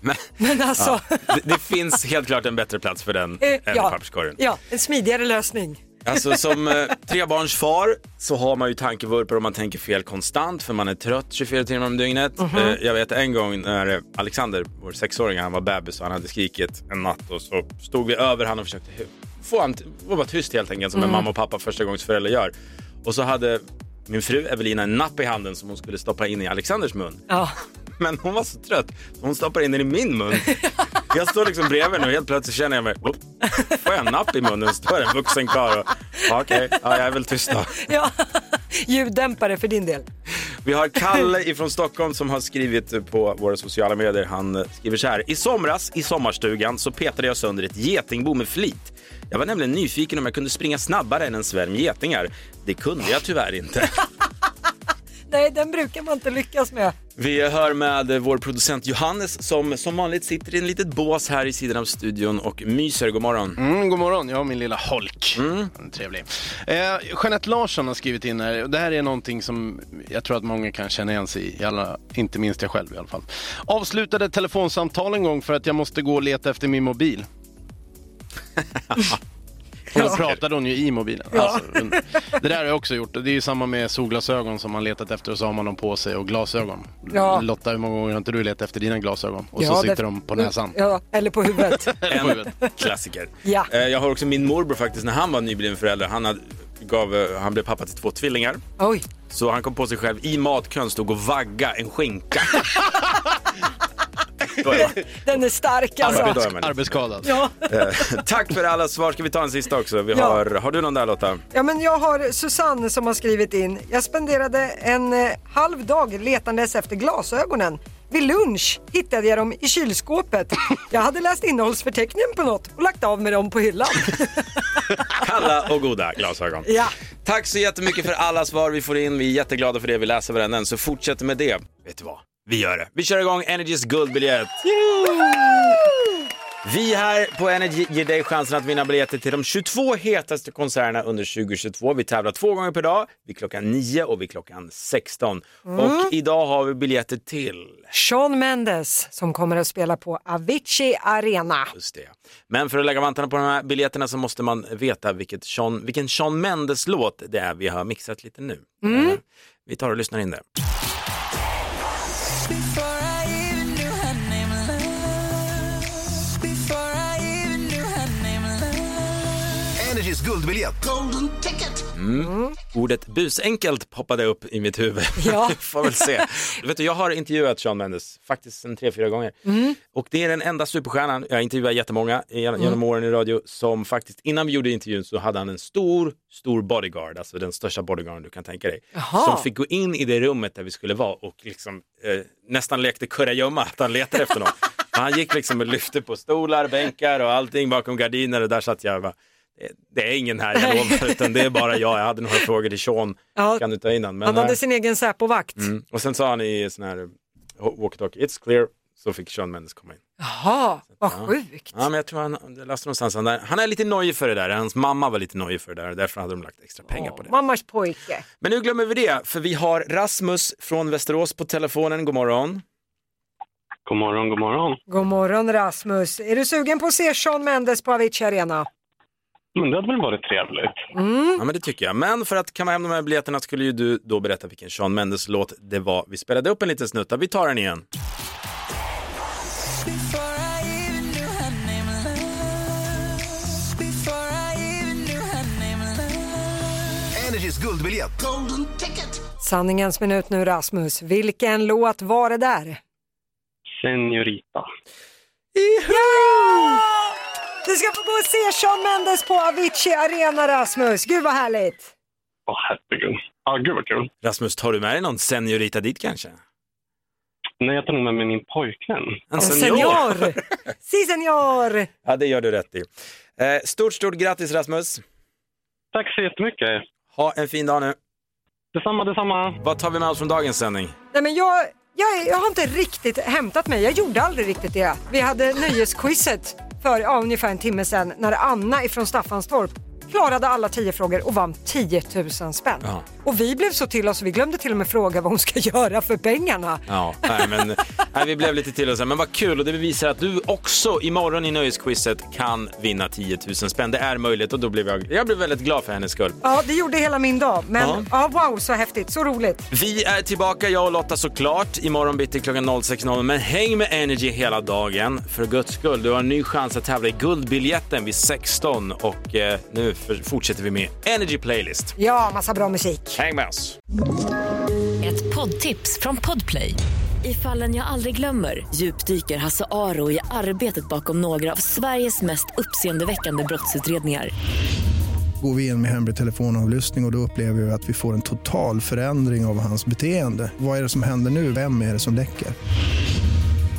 Speaker 1: Men,
Speaker 2: Men alltså-
Speaker 1: ja, det, det finns helt klart en bättre plats för den
Speaker 2: [laughs] Eh,
Speaker 1: än papperskorgen.
Speaker 2: ja, en smidigare lösning.
Speaker 1: Alltså som eh, trebarnsfar så har man ju tankevurpor och man tänker fel konstant för man är trött 24 timmar om dygnet.
Speaker 18: Mhm.
Speaker 1: eh, jag vet en gång när eh, Alexander, vår sexåring, han var bebis och han hade skrikit en natt och så stod vi över han och försökte hu- få han t- få vara tyst helt enkelt som en
Speaker 18: Mm.
Speaker 1: mamma och pappa första gångs förälder gör. Och så hade min fru Evelina en napp i handen som hon skulle stoppa in i Alexanders mun.
Speaker 2: Ja.
Speaker 1: [laughs] Men hon var så trött så hon stoppade in den i min mun. Jag står liksom bredvid nu och helt plötsligt känner jag mig, "Upp, får jag en napp i munnen? Står en vuxen karl och, "Ja, okej, ja, jag är väl tyst då.
Speaker 2: [laughs] Ja, [laughs] ljuddämpare för din del.
Speaker 1: Vi har Kalle ifrån Stockholm som har skrivit på våra sociala medier. Han eh, skriver så här. I somras i sommarstugan så petade jag sönder ett getingbo med flit. Jag var nämligen nyfiken om jag kunde springa snabbare än en svärm getingar. Det kunde jag tyvärr inte.
Speaker 2: Nej, den brukar man inte lyckas med.
Speaker 1: Vi hör med vår producent Johannes som som vanligt sitter i en litet bås här i sidan av studion och myser. God morgon.
Speaker 3: Mm, god morgon, jag och min lilla holk. Mm. Trevlig. Eh, Jeanette Larsson har skrivit in här, och det här är någonting som jag tror att många kan känna igen sig i, i alla, inte minst jag själv i alla fall. Avslutade ett telefonsamtal en gång för att jag måste gå och leta efter min mobil. Och då pratade hon ju i mobilen. Alltså, men det där har jag också gjort. Det är ju samma med solglasögon som man letat efter och så har man dem på sig och glasögon.
Speaker 2: Ja.
Speaker 3: Lotta, hur många gånger har inte du letat efter dina glasögon? Och
Speaker 2: ja,
Speaker 3: så sitter
Speaker 2: det-
Speaker 3: de på näsan.
Speaker 2: Ja, eller
Speaker 3: [laughs]
Speaker 2: på huvudet.
Speaker 1: En klassiker.
Speaker 2: Ja.
Speaker 1: Eh, Jag har också min morbror faktiskt, när han var nybliven förälder, han, hade, gav, eh, han blev pappa till två tvillingar.
Speaker 2: Oj.
Speaker 1: Så han kom på sig själv i matkön stod och vagga en skinka. Då är man-
Speaker 2: Den är stark alltså.
Speaker 1: då är man liksom-
Speaker 3: Arbetsskadad.
Speaker 2: Ja.
Speaker 1: Eh, Tack för alla svar. Ska vi ta en sista också? Vi
Speaker 2: Ja.
Speaker 1: har, har du någon där Lotta?
Speaker 2: Ja, men jag har Susanne som har skrivit in. Jag spenderade en eh, halv dag letandes efter glasögonen. Vid lunch hittade jag dem
Speaker 3: [laughs]
Speaker 2: i kylskåpet. Jag hade läst innehållsförteckningen på något och lagt av med dem på hyllan.
Speaker 1: Kalla och goda glasögon.
Speaker 2: Ja.
Speaker 1: Tack så jättemycket för alla svar vi får in. Vi är jätteglada för det. Vi läser varenda en, så fortsätt med det. Vet du vad? Vi gör det. Vi kör igång Energys guldbiljett. Vi här på Energy ger dig chansen att vinna biljetter till de 22 hetaste konserterna under 2022. Vi tävlar två gånger per dag, vid klockan 9 och vid klockan 16.
Speaker 2: Mm.
Speaker 1: Och idag har vi biljetter till.
Speaker 2: Sean Mendes som kommer att spela på Avicii Arena.
Speaker 1: Just det. Men för att lägga vantarna på de här biljetterna så måste man veta vilket Sean, vilken Sean Mendes-låt det är vi har mixat lite nu. Eh,
Speaker 2: Mm.
Speaker 1: Vi tar och lyssnar in det.
Speaker 19: Energys guldbiljett. Golden ticket.
Speaker 1: Mm. Ordet busenkelt poppade upp i mitt huvud.
Speaker 19: Ja.
Speaker 1: Får väl se. Vet du, jag har intervjuat Sean Mendes faktiskt en tre, fyra gånger. Och det är den enda superstjärnan, jag intervjuar jättemånga gen- genom
Speaker 18: Mm.
Speaker 1: åren i radio, som faktiskt innan vi gjorde intervjun så hade han en stor, stor bodyguard, alltså den största bodyguarden du kan tänka dig.
Speaker 18: Jaha.
Speaker 1: Som fick gå in i det rummet där vi skulle vara och liksom, eh, nästan lekte kurragömma att han letade efter
Speaker 2: [laughs]
Speaker 1: någon. han gick liksom och lyfte på stolar, bänkar och allting bakom gardiner och där satt jag och bara, "Det- det är ingen här, jag
Speaker 2: Nej.
Speaker 1: lovar, utan det är bara jag. Jag hade några frågor till Sean,
Speaker 2: Ja.
Speaker 1: kan du ta in den? Men,
Speaker 2: Han hade
Speaker 1: nej.
Speaker 2: sin egen Säpovakt.
Speaker 1: Mm. Och sen sa han i sån här eh, walkie-talkie, it's clear, så fick Sean Mendes komma in.
Speaker 2: Jaha, vad
Speaker 1: Ja.
Speaker 2: sjukt.
Speaker 1: Ja, men jag tror han, jag läste någonstans, han, är- han är lite nojig för det där, hans mamma var lite nojig för det där och därför hade de lagt extra pengar på det.
Speaker 2: Mammas pojke.
Speaker 1: Men nu glömmer vi det, för vi har Rasmus från Västerås på telefonen,
Speaker 18: Mm.
Speaker 1: god morgon.
Speaker 18: God morgon, god morgon.
Speaker 2: God morgon Rasmus. Är du sugen på att se Sean Mendes på Avicii Arena?
Speaker 18: Men det hade väl varit trevligt?
Speaker 1: Ja, men det tycker jag. Men för att kamma hem de här biljetterna skulle ju du då berätta vilken Sean Mendes-låt det var. Vi spelade upp en liten snutta, vi tar den igen.
Speaker 19: Energys guldbiljett. Golden ticket.
Speaker 2: Sanningens minut nu Rasmus. Vilken låt var det där?
Speaker 18: Senorita.
Speaker 2: Ja! Du ska få gå och se Sean Mendes på Avicii Arena Rasmus. Gud vad härligt.
Speaker 18: Åh, herregud. Ja, gud vad kul.
Speaker 1: Rasmus, tar du med dig någon seniorita dit kanske?
Speaker 18: Nej, jag tar nog med mig min pojkvän.
Speaker 1: En senior. [laughs]
Speaker 2: Si senor!
Speaker 1: Ja, det gör du rätt i. Eh, Stort, stort grattis Rasmus!
Speaker 18: Tack så jättemycket!
Speaker 1: Ha en fin dag nu!
Speaker 18: Detsamma, detsamma!
Speaker 1: Vad tar vi med oss från dagens sändning?
Speaker 2: Nej, men jag, jag, jag har inte riktigt hämtat mig. Jag gjorde aldrig riktigt det. Vi hade nöjesquizet för ja, ungefär en timme sedan när Anna ifrån Staffanstorp klarade alla tio frågor och vann 10 000 spänn.
Speaker 1: Ja.
Speaker 2: Och vi blev så till oss, vi glömde till och med fråga vad hon ska [laughs] göra för pengarna.
Speaker 1: Ja, nej, men, nej, vi blev lite till oss här, men vad kul och det bevisar att du också imorgon i nöjesquizet kan vinna 10 000 spänn. Det är möjligt och då blev jag, jag blev väldigt glad för hennes skull.
Speaker 2: [laughs] Ja, det gjorde hela min dag. Men ja. wow, så häftigt, så roligt.
Speaker 1: Vi är tillbaka, jag och Lotta såklart, imorgon bitti klockan 06.00. Men häng med Energy hela dagen. För guds skull, du har en ny chans att tävla i guldbiljetten vid 16 och eh, nu för- fortsätter vi med Energy Playlist.
Speaker 2: Ja, massa bra musik.
Speaker 1: Häng med oss!
Speaker 15: Ett poddtips från Podplay. I fallen jag aldrig glömmer djupdyker Hasse Aro i arbetet bakom några av Sveriges mest uppseendeväckande brottsutredningar.
Speaker 20: Går vi in med hemlig telefonavlyssning och, och då upplever vi att vi får en total förändring av hans beteende. Vad är det som händer nu? Vem är det som läcker?